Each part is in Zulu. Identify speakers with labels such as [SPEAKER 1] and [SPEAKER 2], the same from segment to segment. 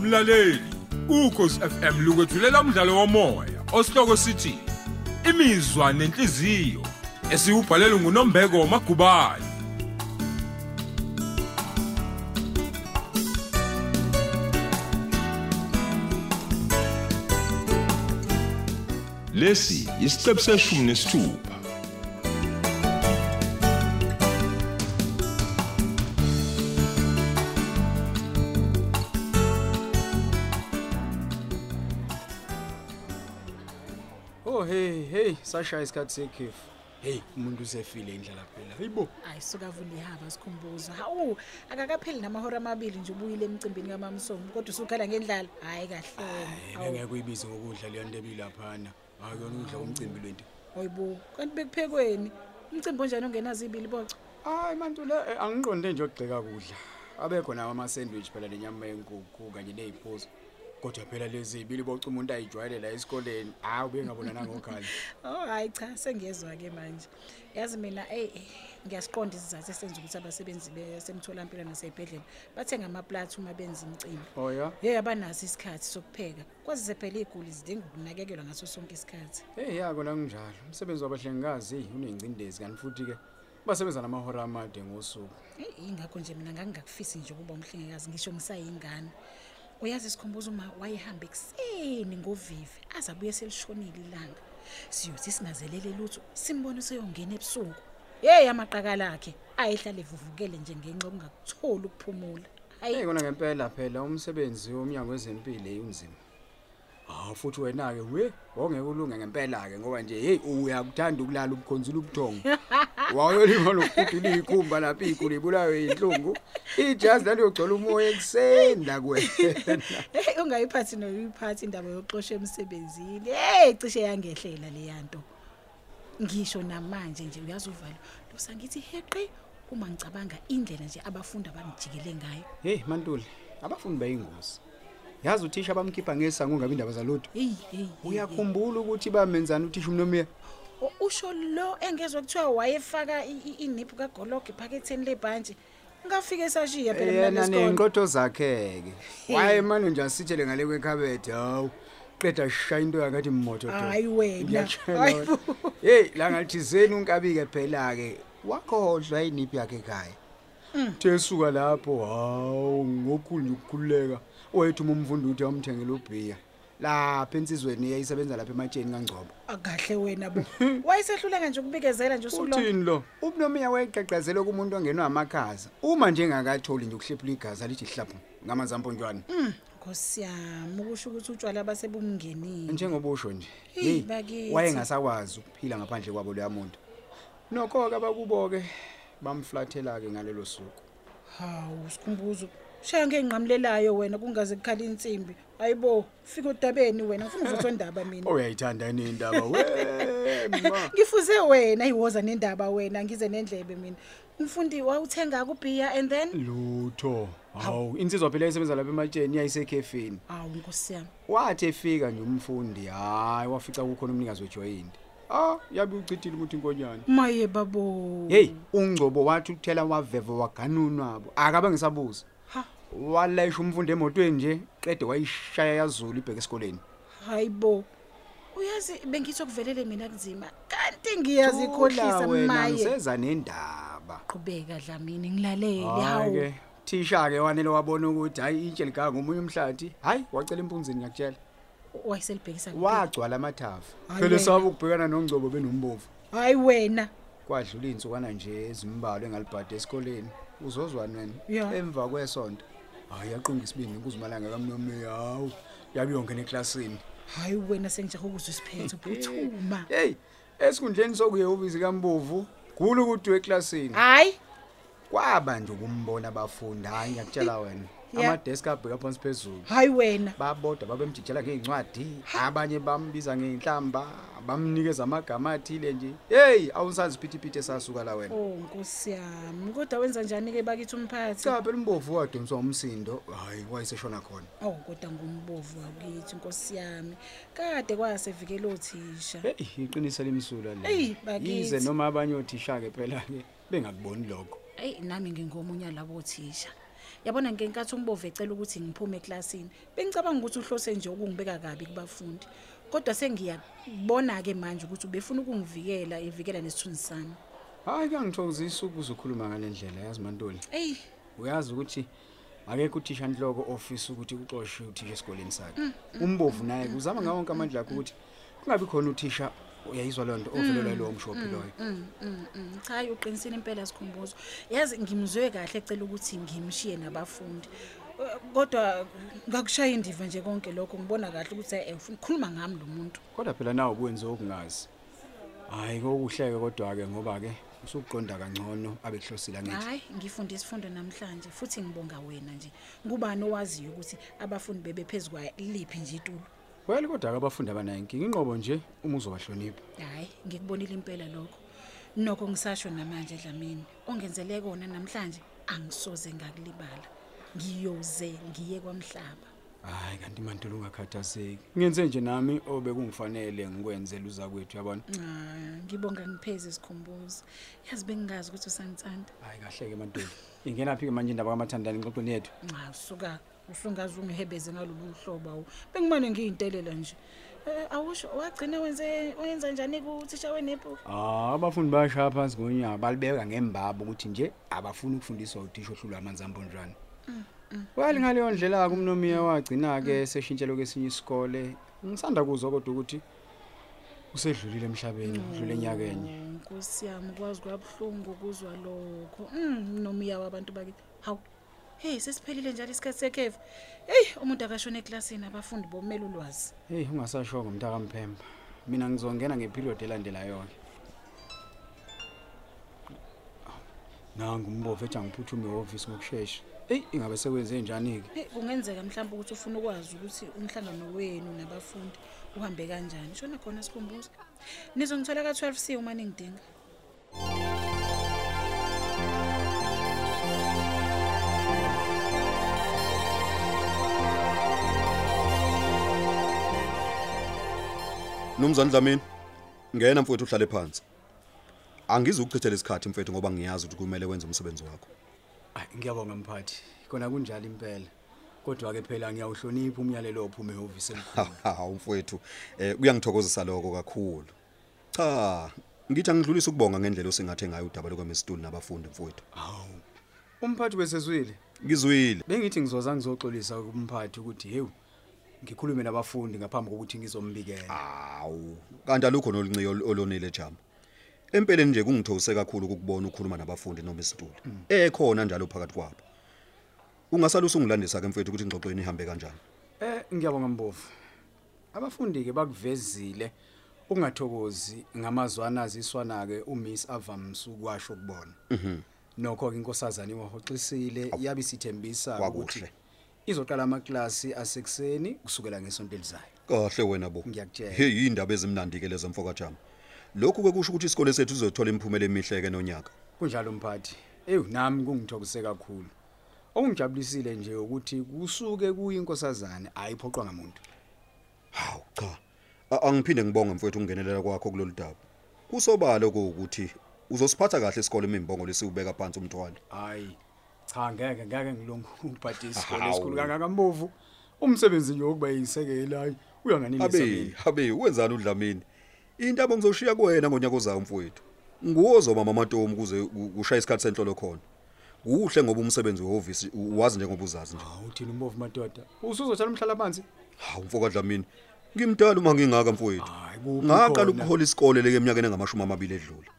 [SPEAKER 1] mlaleli ukhosi FM lukwethulela umdlalo womoya osihloko sithi imizwa nenhliziyo esiyubhalelwe nguNombeko Magubane
[SPEAKER 2] lesi isiqephu seshumi nesithupha
[SPEAKER 3] Oh hey hey sashaya isikhathi sekhefu. Hey umuntu usefile indlala phela. Hayibo.
[SPEAKER 4] ayisuka avula ihaba sikhumbuza hawu akakapheli namahora amabili nje ubuyile emcimbini kamamsongo kodwa usukhala ngendlala hhayi kahle
[SPEAKER 3] Eh, Ngeke kuyibize ngokudla leyo nto ebilaphana. Akuyona udla umcimbi lwento.
[SPEAKER 4] oyibo kanti bekuphekweni umcimbi onjani ongenazo iy'bili boco
[SPEAKER 3] Hayi mantu le eh, angiqonde nje ukugxeka kudla. Abekho nawo ama sandwich phela lenyama yenkukhu kanye neziphuzo. Kodwa phela lezi zibili boca umuntu ayijwayele la esikoleni. Hayi ubengabona nangokhala.
[SPEAKER 4] oh hhayi cha sengiyezwa-ke manje yazi mina eyi ngiyasiqonda isizathu esenza ukuthi abasebenzi basemtholampilo nasey'bhedlela bathenga amaplathi uma benza imicimbi
[SPEAKER 3] Oya.
[SPEAKER 4] ye abanaso isikhathi sokupheka kwazise phela iy'guli zidinga ukunakekelwa ngaso sonke isikhathi
[SPEAKER 3] Hey yako la Eh, kunjalo. Umsebenzi wabahlengikazi unengcindezi kanti futhi ke basebenza namahora amade ngosuku.
[SPEAKER 4] Eyi, yingakho nje mina ngangingakufisi nje ukuba umhlengikazi ngisho ngisayingane uyazi sikhumbuza uma wayehambe ekuseni ngovivi aze abuye selishonile ilanga siyothi singazelele lutho simbone useyongena ebusuku yeyi amaqaka lakhe ayehlale evuvukele nje ngenxa yokungakutholi ukuphumula
[SPEAKER 3] Hey
[SPEAKER 4] hayi
[SPEAKER 3] kona ngempela phela umsebenzi womnyango wezempilo unzima. Ah futhi wena ke we wongeke ulunge ngempela ke ngoba nje hey uyakuthanda ukulala ubukhonzile ubuthongo. Wayolima lokudula ikhumba lapha iguli bulawe inhlungu. Ijazi laliyogcola umoya ekseni la kwena.
[SPEAKER 4] heyi ungayiphathi noyiphathi indaba yokuxosha emsebenzini eyi cishe yangehlela leya nto ngisho namanje nje uyazi uvalo losangithi heqe uma ngicabanga indlela nje abafundi abangijikele ngayo
[SPEAKER 3] Hey Mantuli abafundi bayingozi. Yazi uthisha bamkhipha ngesango ngabe indaba zalutho.
[SPEAKER 4] eyi eyi
[SPEAKER 3] Uyakhumbula ukuthi bamenzana uthisha umnomiya?
[SPEAKER 4] O- usho lo engezwa kuthiwa wayefaka i- i- iniphu kagologe ephaketheni lebhantshi ngafike esashiya phela mina
[SPEAKER 3] yena
[SPEAKER 4] lesikole.
[SPEAKER 3] ney'nqotho zakhe-ke wayemane nje asithele ngale kwekhabethe hawu qeda shaya into yakathi mmoto
[SPEAKER 4] Hhayi wena. Hhayi bo.
[SPEAKER 3] heyi la ngalithizeni unkabi-ke phela-ke wakhohlwa iniphi yakhe ekhaya
[SPEAKER 4] Mm.
[SPEAKER 3] thesuka lapho hawu ngokhulu nje ukukhululeka wethu uma umfundi ukuthi wamthengela ubhiya lapha ensizweni yayisebenza lapha ematsheni kangcobo
[SPEAKER 4] akahle wena bo wayesehluleka nje ukubikezela nje usuku lonke.
[SPEAKER 3] uthini lo ubnomiya wayeqaqazele kumuntu ongenwa amakhaza uma nje engakatholi nje ukuhlephula igazi alithi hlaphu ngamanzamponjwane
[SPEAKER 4] Hmm, nkosi yami ukusho ukuthi utshwala basebumngenile
[SPEAKER 3] njengoba usho nje
[SPEAKER 4] Eyi,
[SPEAKER 3] hey,
[SPEAKER 4] bakithi.
[SPEAKER 3] wayengasakwazi ukuphila ngaphandle kwabo leya muntu nokho-ke abakubo-ke bamflathela-ke ngalelo suku
[SPEAKER 4] hawu sikhumbuzo shaya ngenqamulelayo wena kungaze kukhala insimbi ayibo fika odabeni wena ngifuna uvuthwa ndaba mina
[SPEAKER 3] oyayithanda nendaba we Oh, ma.
[SPEAKER 4] ngifuze wena iwoza nendaba wena ngize nendlebe mina umfundi wawuthenga kubhiya and then
[SPEAKER 3] lutho hawu insizwa phela yayisebenza lapha ematsheni yayisekhefini
[SPEAKER 4] hawu nkosi yami
[SPEAKER 3] wathi efika nje umfundi hhayi wafica kukhona umnikazi wejoyinti ah yabe uchithile umuthi inkonyane
[SPEAKER 4] maye babo
[SPEAKER 3] heyi ungcobo wathi ukuthela waveva waganunwabo akabe ngisabuza
[SPEAKER 4] Ha.
[SPEAKER 3] walayisha umfundi emotweni nje qede wayishaya yazulu ibheke esikoleni
[SPEAKER 4] hayi bo uyazi bengithi okuvelele mina kunzima kanti ngiyazikhohlisa maye
[SPEAKER 3] seza nendaba
[SPEAKER 4] qhubeka dlamini ngilalele hawu
[SPEAKER 3] hayi-ke thisha-ke wanele wabona ukuthi hhayi itshe ligaka ngomunye umhlathi hhayi wacela empunzini ngiyakutshela
[SPEAKER 4] wayeselibhekisa kuphi?
[SPEAKER 3] wagcwala amathafa
[SPEAKER 4] Hhayi
[SPEAKER 3] phela
[SPEAKER 4] wena.
[SPEAKER 3] esaba ukubhekana nongcobo benombovu
[SPEAKER 4] hayi wena
[SPEAKER 3] kwadlula iy'nsukwana nje ezimbalwa engalibhade esikoleni uzozwani wena
[SPEAKER 4] Ya.
[SPEAKER 3] emva kwesonto hhayi yaqunga isibindi kuzimalanga kamnomeya hawu yabe yongena eklasini
[SPEAKER 4] hayi wena sengijahe ukuzwa isiphetho phuthuma
[SPEAKER 3] heyi esikhundleni sokuyehhovisi kambovu gula ukuthi weklasini
[SPEAKER 4] hayi
[SPEAKER 3] kwaba nje ukumbona abafundi hhayi ngiyakutshela wena
[SPEAKER 4] Ya.
[SPEAKER 3] amadeski abheka phansi phezulu
[SPEAKER 4] hayi wena
[SPEAKER 3] babodwa babemjijela ngey'ncwadi abanye bambiza ngey'nhlamba bamnikeza amagama athile nje heyi awusazi iphithiphithi esasuka la wena
[SPEAKER 4] oh nkosi yami kodwa wenza njani-ke bakithi umphathi
[SPEAKER 3] cha phela umbovu waduniswa umsindo hhayi wayeseshona khona
[SPEAKER 4] awu Oh, kodwa ngumbovu wakithi nkosi yami kade kwasevikela othisha
[SPEAKER 3] heyi iqinise limsulwa
[SPEAKER 4] Eyi, bakithi.
[SPEAKER 3] yize noma abanye othisha-ke phela-ke bengakuboni lokho
[SPEAKER 4] eyi nami ngingomunye alabo othisha yabona ngenkathi umbove ecela ukuthi ngiphume eklasini bengicabanga ukuthi uhlose nje ukungibeka kabi kubafundi kodwa sengiyabona-ke manje ukuthi ubefuna ukungivikela evikela nesithunzi sami
[SPEAKER 3] hhayi kuyangithokozisa ukuze ukhuluma ngale ndlela yazi mantoni
[SPEAKER 4] eyi
[SPEAKER 3] uyazi ukuthi akekho uthisha nhloko ofisa ukuthi kuxoshe uthisha esikoleni sakhe
[SPEAKER 4] Mm,
[SPEAKER 3] umbovu naye uzama ngawo wonke amandla akhe ukuthi kungabi khona uthisha uyayizwa leyo nto ovelelwa yilowo mshophi loyo
[SPEAKER 4] Mm, mm, mm. cha hayi uqinisile impela sikhumbuzo yazi ngimzwe kahle ecela ukuthi ngimshiye nabafundi Eh, kodwa ngakushaya indiva nje konke lokho ngibona kahle ukuthi eh, ufuna ukukhuluma ngami lo muntu
[SPEAKER 3] kodwa phela nawe kwenze okungazi hhayi kokuhleke kodwa-ke ngoba-ke usukuqonda kangcono abekuhlosile angithi
[SPEAKER 4] hhayi ngifunde isifundo namhlanje futhi ngibonga wena nje ngubani owaziyo ukuthi abafundi bebephezu kwaliphi nje itulo
[SPEAKER 3] kwele kodwa-ke abafundi abanayo inkinga inqobo nje uma uzobahlonipha
[SPEAKER 4] hhayi ngikubonile impela lokho nokho ngisasho namanje dlamini ongenzele kona namhlanje angisoze ngakulibala ngiyoze ngiye kwamhlaba
[SPEAKER 3] hhayi kanti mantolo ungakhathazeki ngenze nje nami obekungifanele ngikwenzela uzakwethu yabona
[SPEAKER 4] Ah, ngibonga ngipheze sikhumbuzo yazi bengingazi ukuthi usangithanda
[SPEAKER 3] hhayi kahle-ke mantolo ingenaphi-ke manje indaba kamathandane ngixoxweni yethu
[SPEAKER 4] nxa usuka usungazi ungihebeze ngalolu hlobo awu bengimane ngiyintelela nje Eh, awusho wagcina wenze- wenza njani kuthisha wenebhuku
[SPEAKER 3] Ah, abafundi bayashaya phansi ngonyaka balibeka ngembaba ukuthi nje abafuni ukufundiswa utisho ohlulwa amanzi ambonjwana well ngaleyo ndlela-ke umnomiya wagcina-ke seshintshelo kwesinye isikole ngisanda kuzwa kodwa ukuthi usedlulile emhlabeni udlule enyakenye
[SPEAKER 4] Mm, nkosi yami ukwazi kwabuhlungu ukuzwa lokho Mm, nomiya wabantu bakithi hawu heyi sesiphelile njalo isikhathi sekhefu eyi umuntu akashona eklasini abafundi bomele ulwazi
[SPEAKER 3] heyi ungasashoko mntakamphemba mina ngizongena ngepiriyodi elandelayo-ke nangu umbovu ethi angiphuthume ehhovisi ngokushesha eyi ingabe sekwenze njani-ke
[SPEAKER 4] Eyi, kungenzeka mhlawumbe ukuthi ufuna ukwazi ukuthi umhlangano wenu nabafundi uhambe kanjani shona khona sikhumbuza nizongithola ka-12 c uma ningidinga
[SPEAKER 5] Nomzana Dlamini, ngena mfowethu uhlale phansi. Angizukuchithela isikhathi mfowethu ngoba ngiyazi ukuthi kumele wenze umsebenzi wakho.
[SPEAKER 3] Ayi, ngiyabonga mphathi kona kunjalo impela kodwa-ke phela ngiyawuhlonipha umyalelo ophuma ehhovisi elikhulu
[SPEAKER 5] Haha mfowethu, eh kuyangithokozisa lokho kakhulu. Cha, ngithi angidlulisi ukubonga ngendlela osingathe ngayo udaba lokwemistuli nabafundi mfowethu.
[SPEAKER 3] hawu umphathi besezwile
[SPEAKER 5] Ngizwile.
[SPEAKER 3] bengithi ngizoza ngizoxolisa kumphathi ukuthi hewu ngikhulume nabafundi ngaphambi kokuthi ngizombikela
[SPEAKER 5] Hawu, kanti alukho nolincike olonile jama. Empeleni nje kungithokuse kakhulu ukubona ukukhuluma nabafundi noma isitulo. Ekhona njalo phakathi kwabo. Ungasalusa ungilandisa ke mfowethu ukuthi ingxoxweni ihambe kanjani.
[SPEAKER 3] um ngiyabonga mbovu abafundi-ke bakuvezile ukungathokozi ngamazwana aziswana-ke umiss avamise ukwasho kubona nokho-ke inkosazane iwahoxisile yabe isithembisa ukuthi
[SPEAKER 5] Kwakuhle.
[SPEAKER 3] izoqala amaklasi asekuseni kusukela ngesonto elizayo
[SPEAKER 5] Kahle wena bo.
[SPEAKER 3] Ngiyakutshela.
[SPEAKER 5] Hey indaba ezimnandi ke lezo mfoka jama. Lokhu kwekusho ukuthi isikole sethu sizothola imiphumela emihle ke nonyaka.
[SPEAKER 3] kunjalo mphathi ewu nami kungithokise kakhulu okungijabulisile nje ukuthi kusuke kuyinkosazane ayiphoqwa ngamuntu
[SPEAKER 5] Hawu cha. A- Angiphinde ngibonge mfowethu ukungenelela kwakho kulolu daba. Kusobala ukuthi uzosiphatha kahle isikole imimbongo lesiubeka phansi umthwalo.
[SPEAKER 3] hhayi cha ngeke ngeke ngilonge umphathi isikole
[SPEAKER 5] Hawu.
[SPEAKER 3] esikhulu kangakambovu umsebenzi nje wokuba yisekelayo
[SPEAKER 5] Abe,
[SPEAKER 3] uyanganelisamina
[SPEAKER 5] abe wenzani udlamini? Indaba ngizoshiya kuwena ngonyaka ozayo mfowethu. Nguwozo mama Matomu kuze ku- kushaye isikhathi senhlolo khona. Kuhle ngoba umsebenzi wehhovisi u- wazi njengoba uzazi nje.
[SPEAKER 3] hawu thina umbovu madoda usuzothala umhlalabanzi
[SPEAKER 5] Hawu mfoka Dlamini. Ngimdala uma ngingaka mfowethu.
[SPEAKER 3] Hayi, kuphi
[SPEAKER 5] Ngaqala
[SPEAKER 3] khona?
[SPEAKER 5] ukuhola isikole leke eminyakeni engamashumi amabili edlule.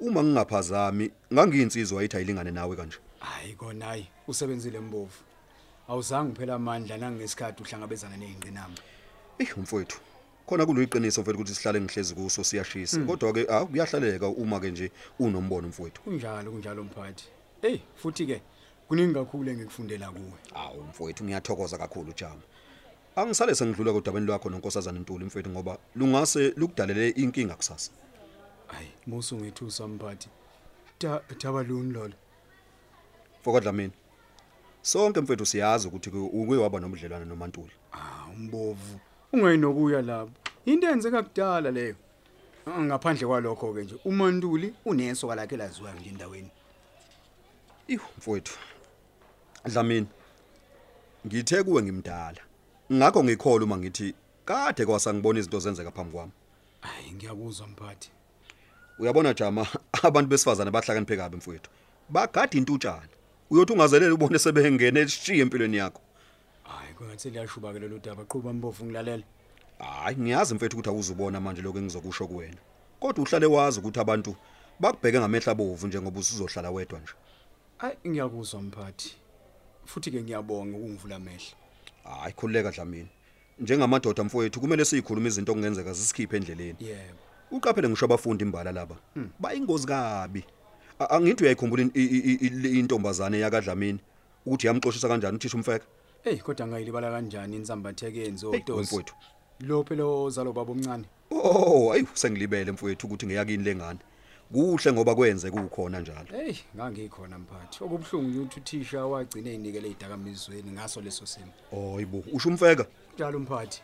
[SPEAKER 5] Uma ngingaphazami, ngangiyinsizwa ayithi ayilingane nawe kanje.
[SPEAKER 3] hhayi kona hhayi usebenzile mbovu awuzange uphela amandla nangesikhathi uhlangabezana ney'ngqinamba
[SPEAKER 5] Eh mfowethu. Khona kuliqiniso mfowethu ukuthi sihlale ngihlezi kuso siyashisa. Kodwa ke ah kuyahlaleka uma ke nje unombono mfowethu.
[SPEAKER 3] kunjalo kunjalo mphathi eyi futhi-ke kuningi kakhulu engikufundela kuwe
[SPEAKER 5] Awu mfowethu ngiyathokoza kakhulu Jama. Angisale sengidlula kodabeni lwakho nonkosazana Ntuli mfowethu ngoba lungase lukudalele inkinga kusasa.
[SPEAKER 3] hayi musungethusa mphathi Ta- tabaluni lolo
[SPEAKER 5] Mfoka Dlamini. Sonke mfowethu siyazi ukuthi uke waba nomdlelwana noMantuli.
[SPEAKER 3] ah umbovu ungayinokuya lapho into enzeka kudala leyo Ah, ngaphandle kwalokho-ke nje umantuli unesoka lakhe laziwayo nje endaweni
[SPEAKER 5] Ihu mfowethu. Dlamini. Ngithe kuwe ngimdala. Ngakho ngikholwa uma ngithi kade kwasangibona izinto zenzeka phambi kwami.
[SPEAKER 3] hayi ngiyakuzwa mphathi
[SPEAKER 5] Uyabona Jama, abantu besifazane bahlakaniphe kabi mfowethu. Bagada intutshana. Uyothi ungazelele ubone sebengene esishiye empilweni yakho.
[SPEAKER 3] hayi kwengathi seliyashuba ke lelo daba quba mbovu ngilalele
[SPEAKER 5] Hayi ngiyazi mfethu ukuthi awuzubona manje lokho engizokusho kuwena. Kodwa uhlale wazi ukuthi abantu bakubheke ngamehla bovu njengoba usizohlala wedwa nje.
[SPEAKER 3] hayi ngiyakuzwa mphathi futhi ke ngiyabonga ukungivula amehlo
[SPEAKER 5] Hayi khululeka Dlamini. Njengamadoda mfowethu kumele sizikhulume izinto okungenzeka zisikhiphe endleleni.
[SPEAKER 3] yebo
[SPEAKER 5] Uqaphele ngisho abafundi imbala laba. Bayingozi kabi. A- Angithi uyayikhumbula in- i- i- i- le intombazane yakadlamini ukuthi yamxoshisa kanjani uthisha umfeka?
[SPEAKER 3] eyi kodwa ngayilibala kanjani insambatheke yenziwa
[SPEAKER 5] Hey, mfowethu.
[SPEAKER 3] lo phela ozalo baba omncane
[SPEAKER 5] Oh, ayi sengilibele mfowethu ukuthi ngeyakini lengane. Kuhle ngoba kwenze kukhona njalo.
[SPEAKER 3] eyi ngangikhona mphathi okubuhlungu nje ukuthi uthisha wagcine ey'nikele ey'dakamizweni ngaso leso simo
[SPEAKER 5] Oh, ibo, usho umfeka.
[SPEAKER 3] njalo mphathi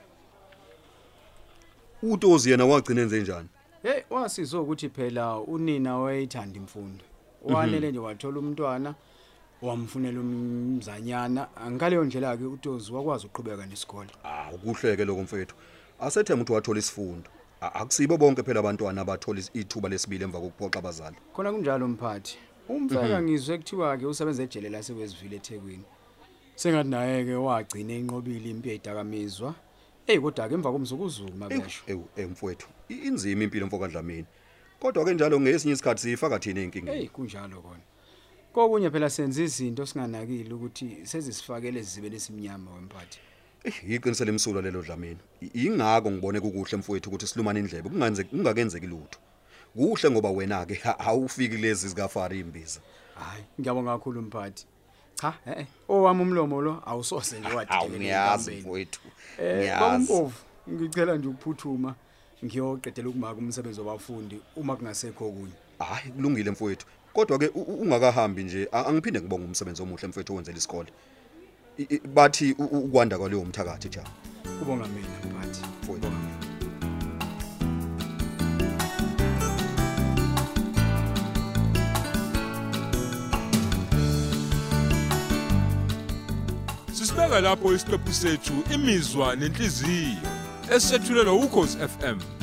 [SPEAKER 5] Utozi yena wagcina enze njani?
[SPEAKER 3] Hey wasizwe ukuthi phela unina wayethanda imfundo. Wanele nje wathola umntwana wamfunela umzanyana. Angikaleyo ndlela ke uTozi wakwazi uqhubeka nesikole.
[SPEAKER 5] Ah, ukuhleke lokho mfowethu. Asethemba ukuthi wathola isifundo. A- Akusibo bonke phela abantwana abathola is- ithuba lesibili emva kokuphoxa abazali.
[SPEAKER 3] Khona kunjalo mphathi. Umfeka ngizwe kuthiwa ke usebenza ejele lasekwezivile eThekwini. Sengathi naye ke wagcina enqobile impilo edakamizwa. Hey kodwa ke emva komzukuzuku mabesho.
[SPEAKER 5] Ewu, ewu mfowethu, i- inzima impilo mfoka Dlamini. Kodwa ke njalo ngesinye isikhathi sifaka thina inkinga.
[SPEAKER 3] Hey kunjalo kona. Kokunye phela senza izinto singanakile ukuthi sezisifakele ezibeni esimnyama wemphathi.
[SPEAKER 5] Iqiniso lemsulwa lelo Dlamini. I- Ingako ngibone kukuhle mfowethu ukuthi silumane indlebe kunganze kungakenzeki lutho. Kuhle ngoba wena ke awufiki lezi zikafari imbiza.
[SPEAKER 3] hayi ngiyabonga kakhulu mphathi cha eh-eh owami umlomo lo awusose nje
[SPEAKER 5] mfowethu.
[SPEAKER 3] Eh, babumpovu ngicela nje ukuphuthuma ngiyoqedela ukumaka umsebenzi wabafundi uma kungasekho okunye
[SPEAKER 5] Hayi kulungile mfowethu. Kodwa ke u- u- ungakahambi nje a- angiphinde ngibonge umsebenzi omuhle mfowethu owenzela isikole. I- i- Bathi u- u- ukwanda kwaleyo mthakathi jama.
[SPEAKER 3] kubonga mina mphathi
[SPEAKER 5] Mfowethu.
[SPEAKER 1] Sisibeka lapho isiqephu sethu imizwa nenhliziyo esethulelwa ukhozi FM